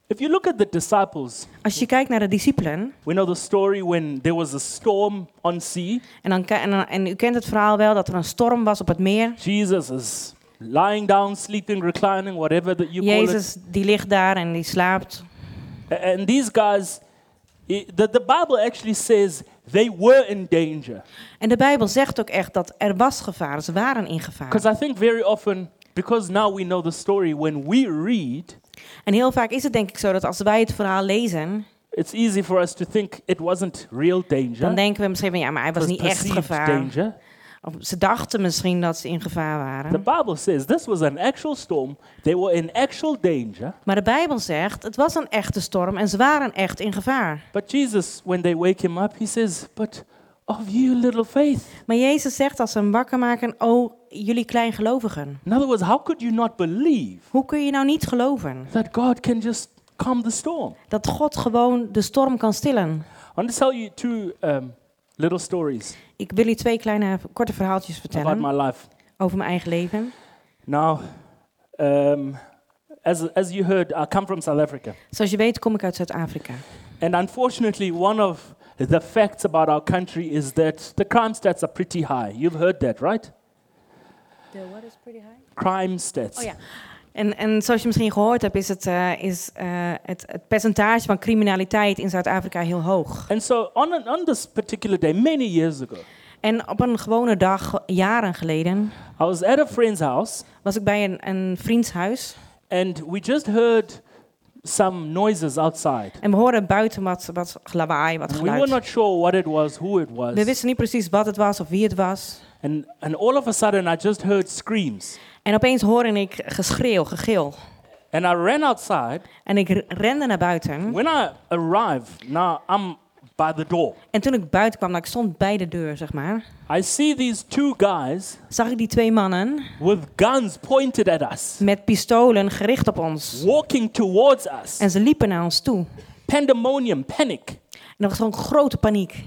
If you look at the disciples,
Als je kijkt naar de discipelen,
we know the story when there was a storm on sea.
en, dan, ki- en, dan- en u kent het verhaal wel dat er een storm was op het meer.
Jesus is lying down, sleeping, reclining, whatever that you
Jezus die ligt daar en die slaapt.
call it. A- And these guys, i- the, the Bible actually says they were in danger.
En de Bijbel zegt ook echt dat er was gevaar, ze waren in gevaar.
Because I think very often, because now we know the story, when we read,
En heel vaak is het denk ik zo dat als wij het verhaal lezen,
it's easy for us to think it wasn't real danger.
dan denken we misschien van ja, maar hij
it
was
was
niet echt
perceived
gevaar.
danger.
Of ze dachten misschien dat ze in gevaar
The
waren.
Bible says this was an actual storm. They were in actual danger.
Maar de Bijbel zegt, het was een echte storm en ze waren echt in gevaar.
But Jesus, when they wake him up, he says, But of you little faith.
Maar Jezus zegt als ze hem wakker maken, o jullie kleingelovigen.
In other words, how could you not believe
Hoe kun je nou niet geloven
that God can just calm the storm?
dat God gewoon de storm kan stillen?
I want to tell you two um, little stories
Ik wil u twee kleine korte verhaaltjes
about my
vertellen
life.
over mijn eigen leven.
Now, um, as, as you heard, I come from South Africa.
Zoals je weet kom ik uit Zuid-Afrika.
And unfortunately, one of the facts about our country is that the crime stats are pretty high. You've heard that, right? Crime stats.
Oh ja. En, en zoals je misschien gehoord hebt, is, het, eh, is eh, het, het percentage van criminaliteit in Zuid-Afrika heel hoog.
And so on, an, on this particular day, many years ago,
En op een gewone dag, jaren geleden,
I was at a friend's house
was ik bij een, een vriends huis.
and we just heard some noises outside.
En we hoorden buiten wat, wat lawaai, wat
And we were
geluid.
not sure what it was, who it was.
We wisten niet precies wat het was of wie het was.
And, and all of a sudden, I just heard screams.
En opeens hoorde ik geschreeuw, gegil.
And I ran outside.
En ik r- rende naar buiten.
When I arrived, now I'm by the door.
En toen ik buiten kwam, nou, ik stond bij de deur, zeg maar,
I see these two guys
zag ik die twee mannen
with guns pointed at us,
met pistolen gericht op ons.
walking towards us.
En ze liepen naar ons toe.
Pandemonium, panic.
En er was gewoon grote paniek.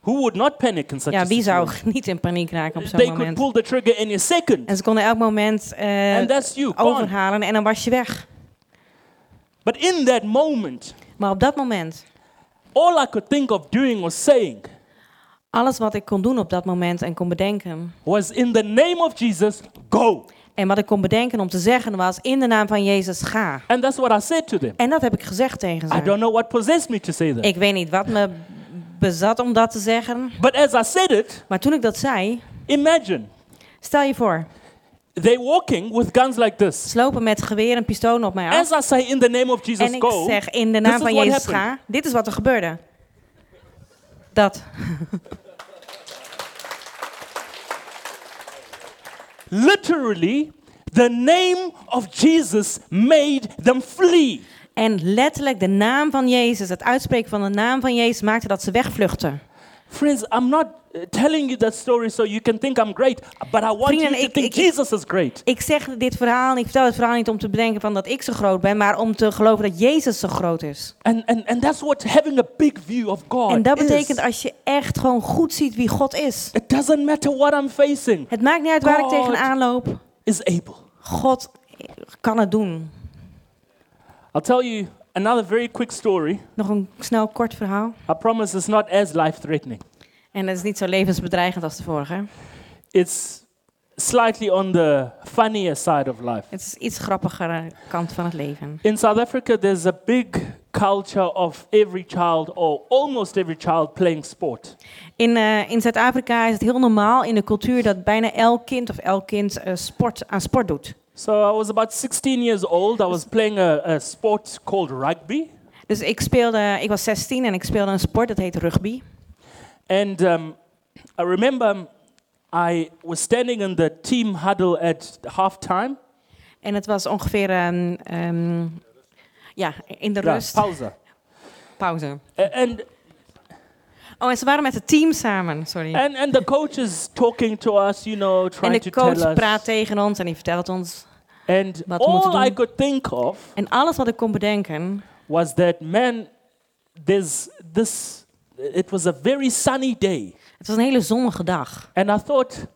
Who would not panic in such
Ja,
a
wie zou
situation?
*laughs* niet in paniek raken op
They
zo'n
could
moment?
pull the trigger any second,
En ze konden elk moment eh,
and that's you, gone.
overhalen en dan was je weg.
But in that moment,
Maar op dat moment,
all I could think of doing or saying
alles wat ik kon doen op dat moment en kon bedenken.
was, in the name of Jesus, go.
En wat ik kon bedenken om te zeggen was, in de naam van Jezus, ga.
And that's what I said to them.
En dat heb ik gezegd tegen
I
ze.
don't know what possessed me to say that.
Ik weet niet wat me bezat om dat te zeggen.
But as I said it,
Maar toen ik dat zei,
imagine
stel je voor,
they walking with guns like this.
slopen met geweer en pistolen op mij af.
As I say, in the name of Jesus,
En ik
go.
zeg, in de naam
this is
van
what
Jezus,
happened.
ga. Dit is wat er gebeurde. Dat.
Literally, the name of Jesus made them flee.
En letterlijk de naam van Jezus, het uitspreken van de naam van Jezus maakte dat ze wegvluchtten.
Friends, I'm not uh, telling you that story so you can think I'm great, but I want
Vrienden,
you to
ik-
think
ik-
Jesus is great.
Ik zeg dit verhaal, en ik vertel het verhaal niet om te bedenken van dat ik zo groot ben, maar om te geloven dat Jezus zo groot is.
And, and, and that's what having a big view of God
En dat
Oh, is.
betekent als je echt gewoon goed ziet wie God is.
It doesn't matter what I'm facing,
Het maakt niet uit waar
God.
ik tegenaan loop.
is able.
God kan het doen.
I'll tell you another very quick story.
Nog een snel kort verhaal.
I promise it's not as life threatening.
En dat is niet zo levensbedreigend als de vorige.
It's slightly on the funnier side of life.
Het is iets grappigere kant van het leven.
In South Africa, there's a big culture of every child or almost every child playing sport.
In, eh, in Zuid-Afrika is het heel normaal in de cultuur dat bijna elk kind of elk kind eh, sport aan sport doet.
So I was about 16 years old. I was playing a, a sport called rugby.
Dus ik speelde, ik was 16 en ik speelde een sport dat heet rugby.
And um, I remember um, I was standing in the team huddle at halftime.
En het was ongeveer ehm, ehm, ja, in de
Yeah,
rust.
pausa.
pauze.
A- And,
Oh, en ze waren met het team samen, sorry.
and, and the coach is talking to us, you know,
en
trying
de
to
coach
tell
praat
us.
tegen ons en die vertelt ons.
And
wat we
all
moeten
I
doen.
could think of
En alles wat ik kon bedenken,
was that, man, there's this, it was a very sunny day.
het was een hele zonnige dag.
And I thought,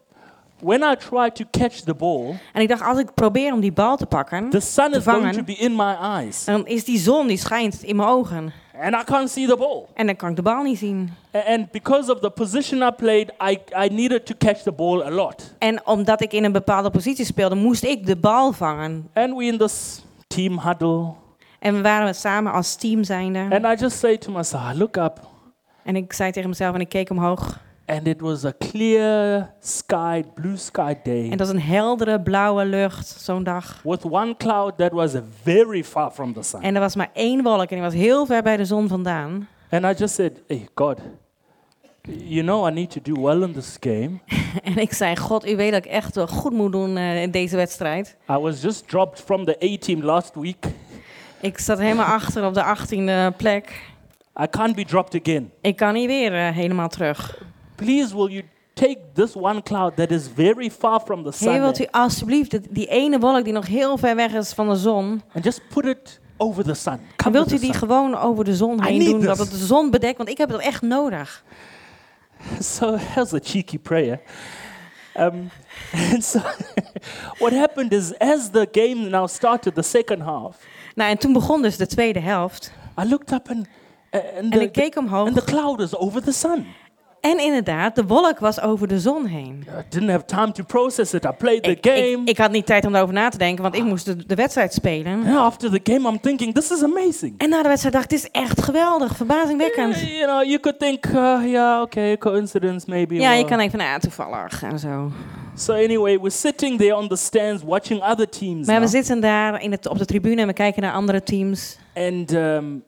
when I try to catch the ball,
En ik dacht, als ik probeer om die bal te pakken,
the sun
te
is going to
vangen,
be in my eyes.
dan is die zon die schijnt in mijn ogen.
And I can't see the ball.
En dan kan ik de bal niet zien.
A- And because of the position I played, I, I needed to catch the ball a lot.
En omdat ik in een bepaalde positie speelde, moest ik de bal vangen.
And we in this team huddle.
En we waren samen als team zijnde.
And I just say to myself, I look up,
En ik zei tegen mezelf en ik keek omhoog.
and it was a clear sky, blue sky day,
En dat is een heldere blauwe lucht zo'n dag.
with one cloud that was very far from the sun.
En er was maar één wolk en die was heel ver bij de zon vandaan. *laughs*
And I just said, Hey, God, you know I need to do well in this game.
En ik zei, god, u weet dat ik echt wel goed moet doen eh, in deze wedstrijd.
I was just dropped from the A team last week.
Ik zat helemaal achter op de 18e plek.
I can't be dropped again.
Ik kan niet weer eh, helemaal terug.
Please, will you take this one cloud that is very far from the
Heer,
sun
wilt u alsjeblieft dat- die ene wolk die nog heel ver weg is van de zon...
and just put it over the sun? Cover
Wilt u
the
die
sun.
gewoon over de zon
I
heen
need
doen,
this.
dat het de zon bedekt? Want ik heb het echt nodig.
So *laughs* that was a cheeky prayer. Um, *laughs* and so what happened is, as the game now started, the second half,
Nou, en toen begon dus de tweede helft.
I looked up and, uh, and,
En
the,
ik keek omhoog.
and the cloud is over the sun.
En inderdaad, de wolk was over de zon heen.
I didn't have time to process it. I played the
Ik, ik,
game.
ik had niet tijd om daarover na te denken, want ik moest de, de wedstrijd spelen.
And after the game, I'm thinking, this is amazing.
En na de wedstrijd dacht ik, dit is echt geweldig, verbazingwekkend.
Yeah, you know, you could think, uh, yeah, okay, coincidence maybe.
Ja, je
or-
kan even naar toevallig en zo.
So anyway, we're sitting there on the stands watching other teams,
Maar we
now,
zitten daar in het, op de tribune en we kijken naar andere teams.
and um,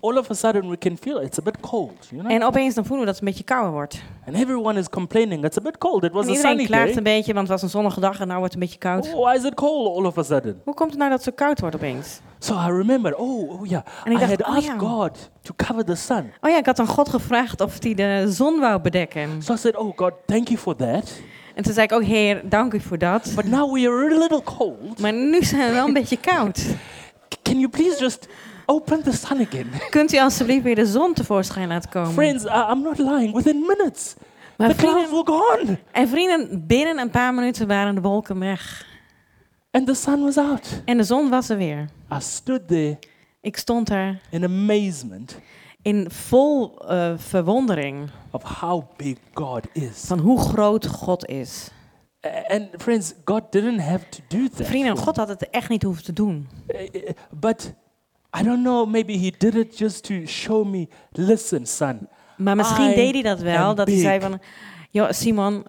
all of a sudden we can feel it's a bit cold, you know?
En opeens dan voelen we dat het een beetje kouder wordt.
And everyone is complaining it's a bit cold. It was
En
a
iedereen
sunny
klaagt
day.
een beetje, want het was een zonnige dag en nou wordt het een beetje koud.
Oh, why is it cold all of a sudden?
Hoe komt het nou dat het zo koud wordt opeens?
So I remembered, oh, oh yeah,
En ik
I
dacht,
had
oh
asked
ja.
God to cover the sun.
Oh ja, ik had aan God gevraagd of hij de zon wou bedekken.
So I said, oh God, thank you for that.
En toen zei ik ook, heer, dank u voor dat.
But now we are a little cold.
Maar nu zijn we wel een beetje koud.
*laughs* C- Can you please just open the sun again? *laughs*
Kunt u alsjeblieft weer de zon tevoorschijn laten komen?
Friends, I- I'm not lying. Within minutes,
Maar
Um, the clouds
vrienden,
were gone
en vrienden, binnen een paar minuten waren de wolken weg.
and the sun was out.
En de zon was er weer.
I stood there
Ik stond daar
in amazement
in vol eh, verwondering
of how big God is.
van hoe groot God is.
A- And friends, God didn't have to do that.
Vrienden,
for
God had het echt niet hoeven te doen.
Uh, uh, But I don't know, maybe he did it just to show me, listen, son,
Maar misschien
I
deed hij dat wel,
am
dat hij zei
big.
van... Joh, Simon,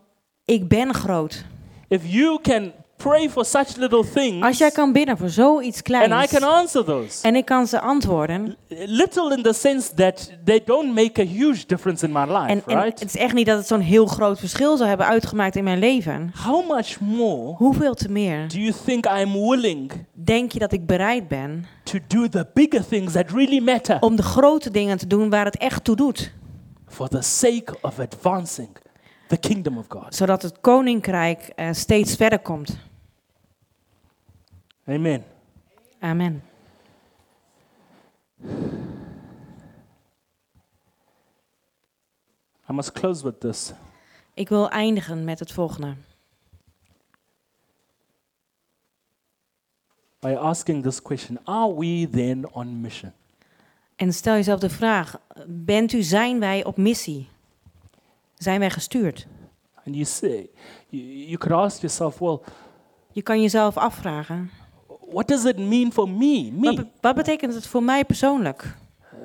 ik ben groot.
if you can pray for such little things
Als jij kan bidden voor zoiets
and I
kleins...
can answer those.
en ik kan ze antwoorden...
Little in the sense that they don't make a huge difference in my
En,
life,
en
right?
het is echt niet dat het zo'n heel groot verschil zou hebben uitgemaakt in mijn leven.
How much more
Hoeveel te meer
do you think I'm willing
denk je dat ik bereid ben
to do the bigger things that really matter
om de grote dingen te doen waar het echt toe doet?
for the sake of advancing the kingdom of God?
Zodat het koninkrijk eh, steeds verder komt.
Amen.
Amen.
I must close with this.
Ik wil eindigen met het volgende.
by asking this question Are we then on mission?
En stel jezelf de vraag: bent u, zijn wij op missie? Zijn wij gestuurd?
And you say, you, you could ask yourself, well,
Je kan jezelf afvragen.
what does it mean for me?
Wat,
Me?
be- wat betekent het voor mij persoonlijk?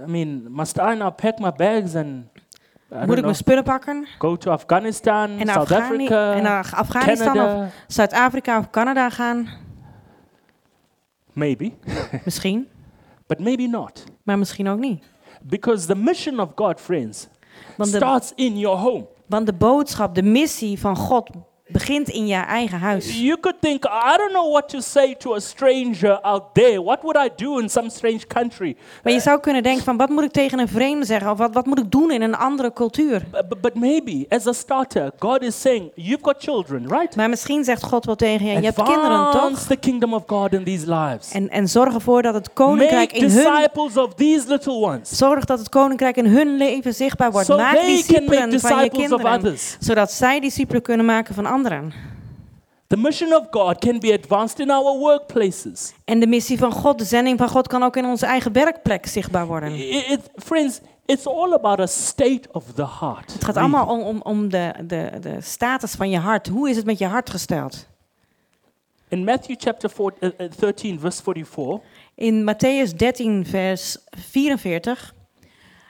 I mean, must I now pack my bags and I
Moet
don't
ik
know,
mijn spullen pakken
go to Afghanistan,
en naar,
South
Afghani- en
Africa,
naar Afghanistan of
Canada?
Zuid-Afrika of Canada
*laughs*
gaan?
Maybe,
Misschien,
but maybe not.
maar misschien ook niet.
Because the mission of God, friends,
Want de,
starts in your home.
want de boodschap, de missie van God begint in je eigen huis.
You could think, I don't know what to say to a stranger out there. What would I do in some strange country?
Maar je zou kunnen denken van wat moet ik tegen een vreemde zeggen of wat, wat moet ik doen in een andere cultuur?
But, but- but maybe, as a starter, God is saying, You've got children, right?
Maar misschien zegt God wel tegen je, je hebt kinderen
Advance
toch?
the kingdom of God in these lives.
En, en zorg ervoor dat het koninkrijk
Make
in hun,
disciples of these little ones.
zorg dat het koninkrijk in hun leven zichtbaar wordt.
So
Maak
they can make
discipelen van je
disciples of
kinderen,
others.
zodat zij discipelen kunnen maken van anderen.
The mission of God can be advanced in our workplaces.
En de missie van God, de zending van God, kan ook in onze eigen werkplek zichtbaar worden.
I- i- it- friends, it's all about a state of the heart.
Het gaat
really.
allemaal om, om, om de, de, de status van je hart. Hoe is het met je hart gesteld?
In Matthew chapter four, uh, uh, 13, verse 44.
In Matthäus 13, vers 44,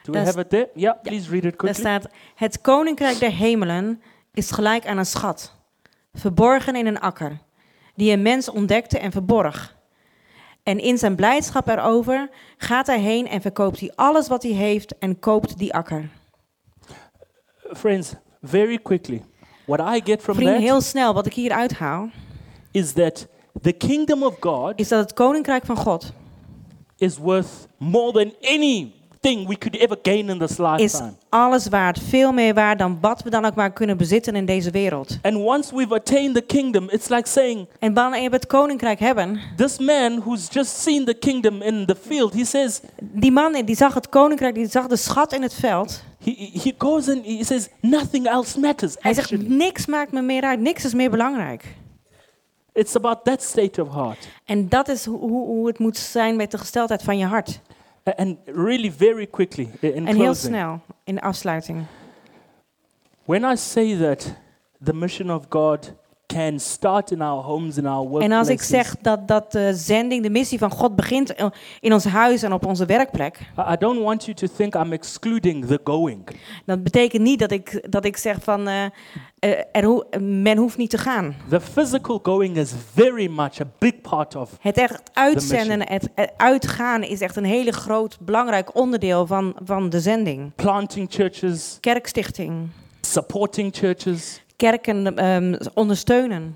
Do we
Daar
have it there? Yeah, please read it
daar
quickly.
staat... Het koninkrijk der hemelen is gelijk aan een schat, verborgen in een akker, die een mens ontdekte en verborg. En in zijn blijdschap erover gaat hij heen en verkoopt hij alles wat hij heeft en koopt die akker.
Friends, very quickly. What I get from
Vrienden,
that
heel snel, wat ik hier uithaal,
is that the kingdom of God
is dat het koninkrijk van God
is worth more than anything we could ever gain in this
is
lifetime.
alles waard, veel meer waard dan wat we dan ook maar kunnen bezitten in deze wereld.
And once we've attained the kingdom, it's like saying,
En wanneer we het koninkrijk hebben,
this man who's just seen the kingdom in the field, he says,
die man die zag het koninkrijk, die zag de schat in het veld.
he, he goes and he says, nothing else matters.
Hij zegt,
Actually,
niks maakt me meer uit, niks is meer belangrijk.
it's about that state of heart.
En dat is hoe, hoe- hoe het moet zijn met de gesteldheid van je hart.
A- And really, very quickly, i- in
En heel
closing,
snel, in de afsluiting.
when I say that the mission of God can start in our homes, in our workplaces.
En als ik zeg dat, dat de zending, de missie van God begint eh, in ons huis en op onze werkplek,
I I don't want you to think I'm excluding the going.
dat betekent niet dat ik, dat ik zeg van eh, eh, er hoe- men hoeft niet te gaan.
The physical going is very much a big part of
Het echt uitzenden, het eh, uitgaan is echt een hele groot, belangrijk onderdeel van, van de zending.
planting churches,
Kerkstichting,
supporting churches.
kerken ehm, ondersteunen.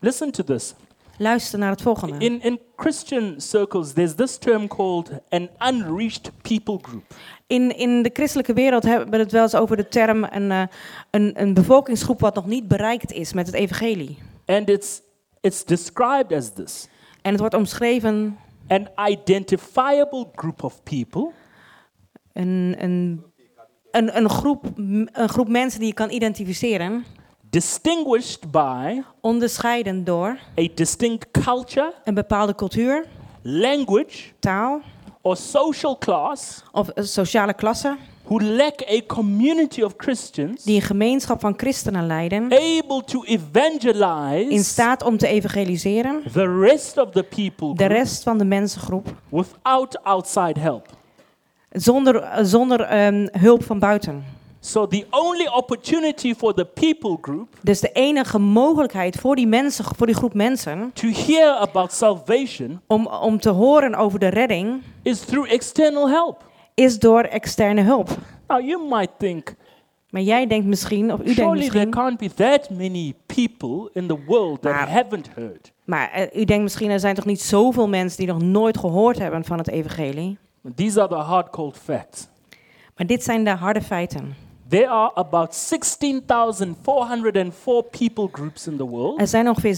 Listen to this.
Luister naar het volgende.
In, in Christian circles, there's this term called an unreached people group.
In, in de christelijke wereld hebben we het wel eens over de term een, eh, een, een bevolkingsgroep wat nog niet bereikt is met het evangelie.
And it's, it's described as this
En het wordt omschreven
an identifiable group of people
een, een, een, een, groep, een groep mensen die je kan identificeren,
distinguished by
onderscheidend door
a distinct culture,
een bepaalde cultuur,
language,
taal
or social class
of een sociale klasse,
who lack a community of Christians
die een gemeenschap van christenen leiden,
able to evangelize
in staat om te evangeliseren,
the rest of the people
de
group
rest van de mensengroep,
without outside help.
zonder, zonder ehm, hulp van buiten.
So the only opportunity for the people group
Dus de enige mogelijkheid voor die, mensen, voor die groep mensen
to hear about salvation
om, om te horen over de redding
is through external help.
is door externe hulp.
Now you might think,
Maar jij denkt misschien, of u denkt
surely there
misschien,
can't be that many people in the world that
Maar-
haven't heard.
maar eh, u denkt misschien er zijn toch niet zoveel mensen die nog nooit gehoord hebben van het evangelie.
These are the hard cold facts.
Maar dit zijn de harde feiten.
There are about 16,404 people groups in the world.
Er zijn ongeveer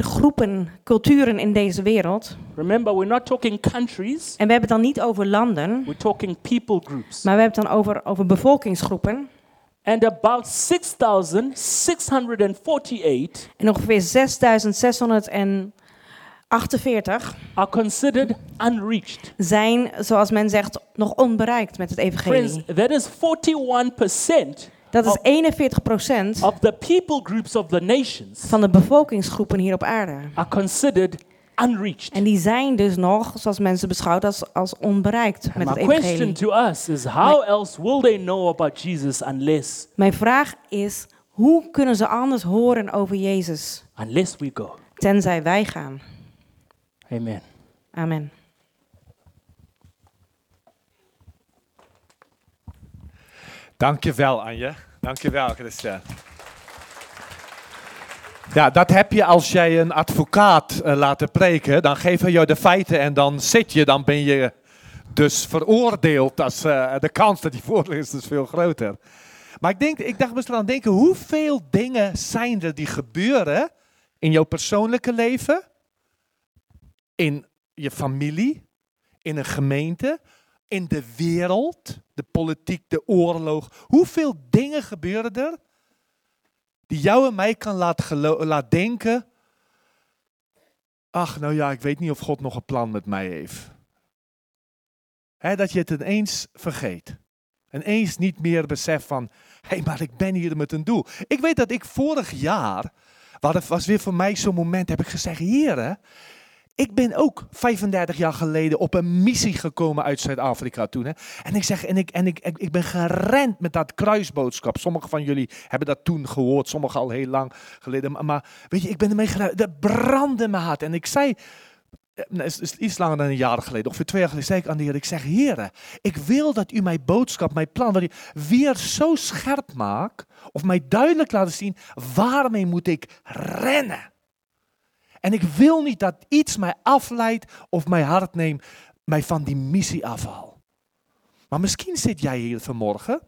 16.404 groepen, culturen in deze wereld.
Remember, we're not talking countries,
En we hebben het dan niet over landen,
we're talking people groups.
maar we hebben het dan over, over bevolkingsgroepen.
And about 6,648
En ongeveer 6.648
are considered unreached.
zijn, zoals men zegt, nog onbereikt met het
Friends,
evangelie.
that is 41%
Dat is
Oh.
41 procent
of the people groups of the nations
van de bevolkingsgroepen hier op aarde.
are considered unreached.
En die zijn dus nog, zoals mensen beschouwd, als, als onbereikt met
My
het
question
evangelie.
to us is how else will they know about Jesus unless
Mijn vraag is, hoe kunnen ze anders horen over Jezus,
unless we go?
tenzij wij gaan?
Amen.
Amen.
Dankjewel, Anje. Dankjewel, Christian. Ja, dat heb je als jij een advocaat eh, laat preken. Dan geven je de feiten en dan zit je. Dan ben je dus veroordeeld. Als, eh, de kans dat die voordeel is, is veel groter. Maar ik, denk, ik dacht best wel aan denken. Hoeveel dingen zijn er die gebeuren in jouw persoonlijke leven? In je familie? In een gemeente? in de wereld, de politiek, de oorlog. Hoeveel dingen gebeuren er die jou en mij kan laten gelo- laat denken. Ach, nou ja, ik weet niet of God nog een plan met mij heeft. Hè, dat je het ineens vergeet. Ineens niet meer beseft van, hé, hey, maar ik ben hier met een doel. Ik weet dat ik vorig jaar, wat het was weer voor mij zo'n moment, heb ik gezegd, heren, ik ben ook 35 jaar geleden op een missie gekomen uit Zuid-Afrika toen. Hè? En ik zeg, en, ik, en ik, ik, ik ben gerend met dat kruisboodschap. Sommigen van jullie hebben dat toen gehoord, sommigen al heel lang geleden. Maar, maar weet je, ik ben ermee gerend. Dat brandde mijn hart. En ik zei, eh, nou, is, is iets langer dan een jaar geleden, ongeveer twee jaar geleden, zei ik aan de Heer, ik zeg, Heer, ik wil dat u mijn boodschap, mijn plan, wat u weer zo scherp maakt, of mij duidelijk laat zien, waarmee moet ik rennen? En ik wil niet dat iets mij afleidt of mijn hart neemt, mij van die missie afhaal. Maar misschien zit jij hier vanmorgen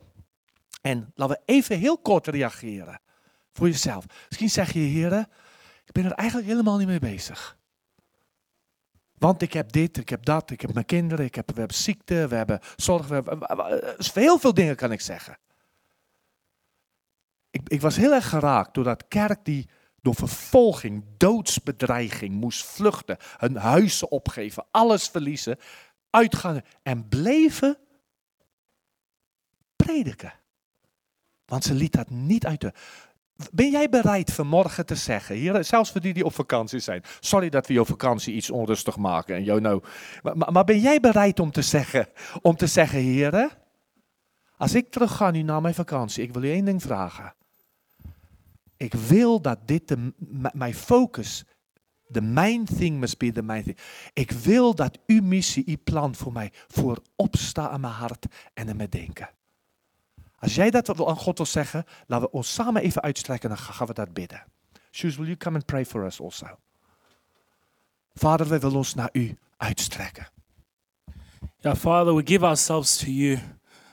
en laten we even heel kort reageren voor jezelf. Misschien zeg je, heren, ik ben er eigenlijk helemaal niet mee bezig. Want ik heb dit, ik heb dat, ik heb mijn kinderen, ik heb, we hebben ziekte, we hebben zorg. We hebben, heel veel dingen kan ik zeggen. Ik, ik was heel erg geraakt door dat kerk die door vervolging, doodsbedreiging moest vluchten, hun huizen opgeven, alles verliezen, uitgaan en bleven prediken. Want ze liet dat niet uit de. Ben jij bereid vanmorgen te zeggen, hier, zelfs voor die die op vakantie zijn, sorry dat we je vakantie iets onrustig maken en you know. Maar, maar, maar ben jij bereid om te zeggen, om te zeggen, heren, als ik terug ga nu naar mijn vakantie, ik wil u één ding vragen. Ik wil dat dit de, m- mijn focus, the main thing must be the main thing. Ik wil dat uw missie, uw plan voor mij voorop staat in mijn hart en in mijn denken. Als jij dat wil- aan God wil zeggen, laten we ons samen even uitstrekken en dan gaan we dat bidden. Shoes, will you come and pray for us also? Vader, wij willen ons naar u uitstrekken.
Yeah, Father, we give ourselves to you.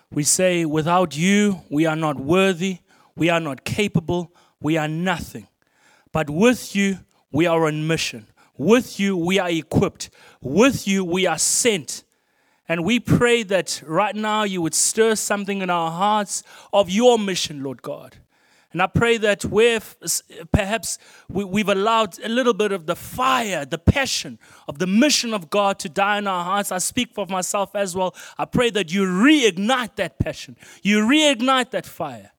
We say, without you, we are not worthy, we are not capable, we are nothing. But with you, we are on mission. With you, we are equipped. With you, we are sent. And we pray that right now you would stir something in our hearts of your mission, Lord God. And I pray that where f- s- perhaps we, we've allowed a little bit of the fire, the passion of the mission of God to die in our hearts, I speak for myself as well. I pray that you reignite that passion, you reignite that fire.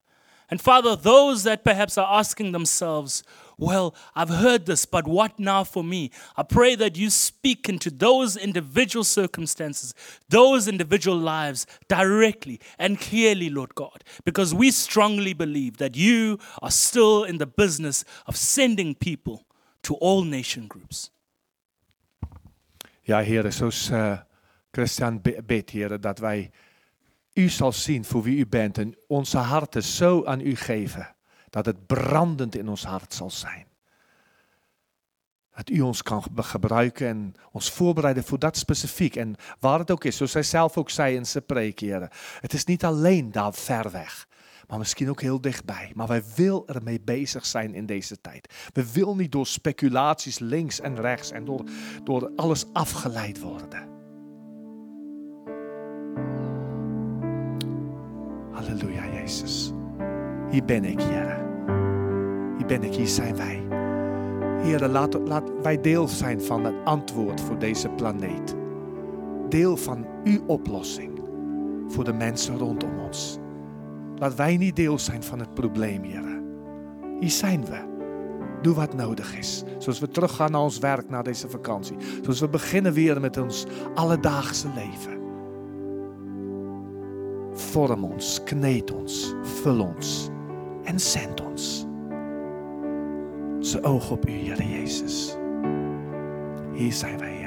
And Father, those that perhaps are asking themselves, well, I've heard this, but what now for me? I pray that you speak into those individual circumstances, those individual lives directly and clearly, Lord God, because we strongly believe that you are still in the business of sending people to all nation groups.
Ja, heren, zoals eh, Christian bi- bidt, heren, dat wij u zal zien voor wie u bent en onze harten zo aan u geven dat het brandend in ons hart zal zijn. Dat u ons kan ge- gebruiken en ons voorbereiden voor dat specifiek. En waar het ook is, zoals hij zelf ook zei in zijn preek, heren. Het is niet alleen daar ver weg, maar misschien ook heel dichtbij. Maar wij wil ermee bezig zijn in deze tijd. We wil niet door speculaties links en rechts en door, door alles afgeleid worden. Halleluja, Jezus. Hier ben ik, Heer. Hier ben ik, hier zijn wij. Heer, laat, laat wij deel zijn van het antwoord voor deze planeet. Deel van uw oplossing voor de mensen rondom ons. Laat wij niet deel zijn van het probleem, Heer. Hier zijn we. Doe wat nodig is. Zoals we teruggaan naar ons werk na deze vakantie. Zoals we beginnen weer met ons alledaagse leven. Vorm ons, kneed ons, vul ons en zend ons. Zijn oog op u, Heer Jezus. Hier zijn wij, Heer.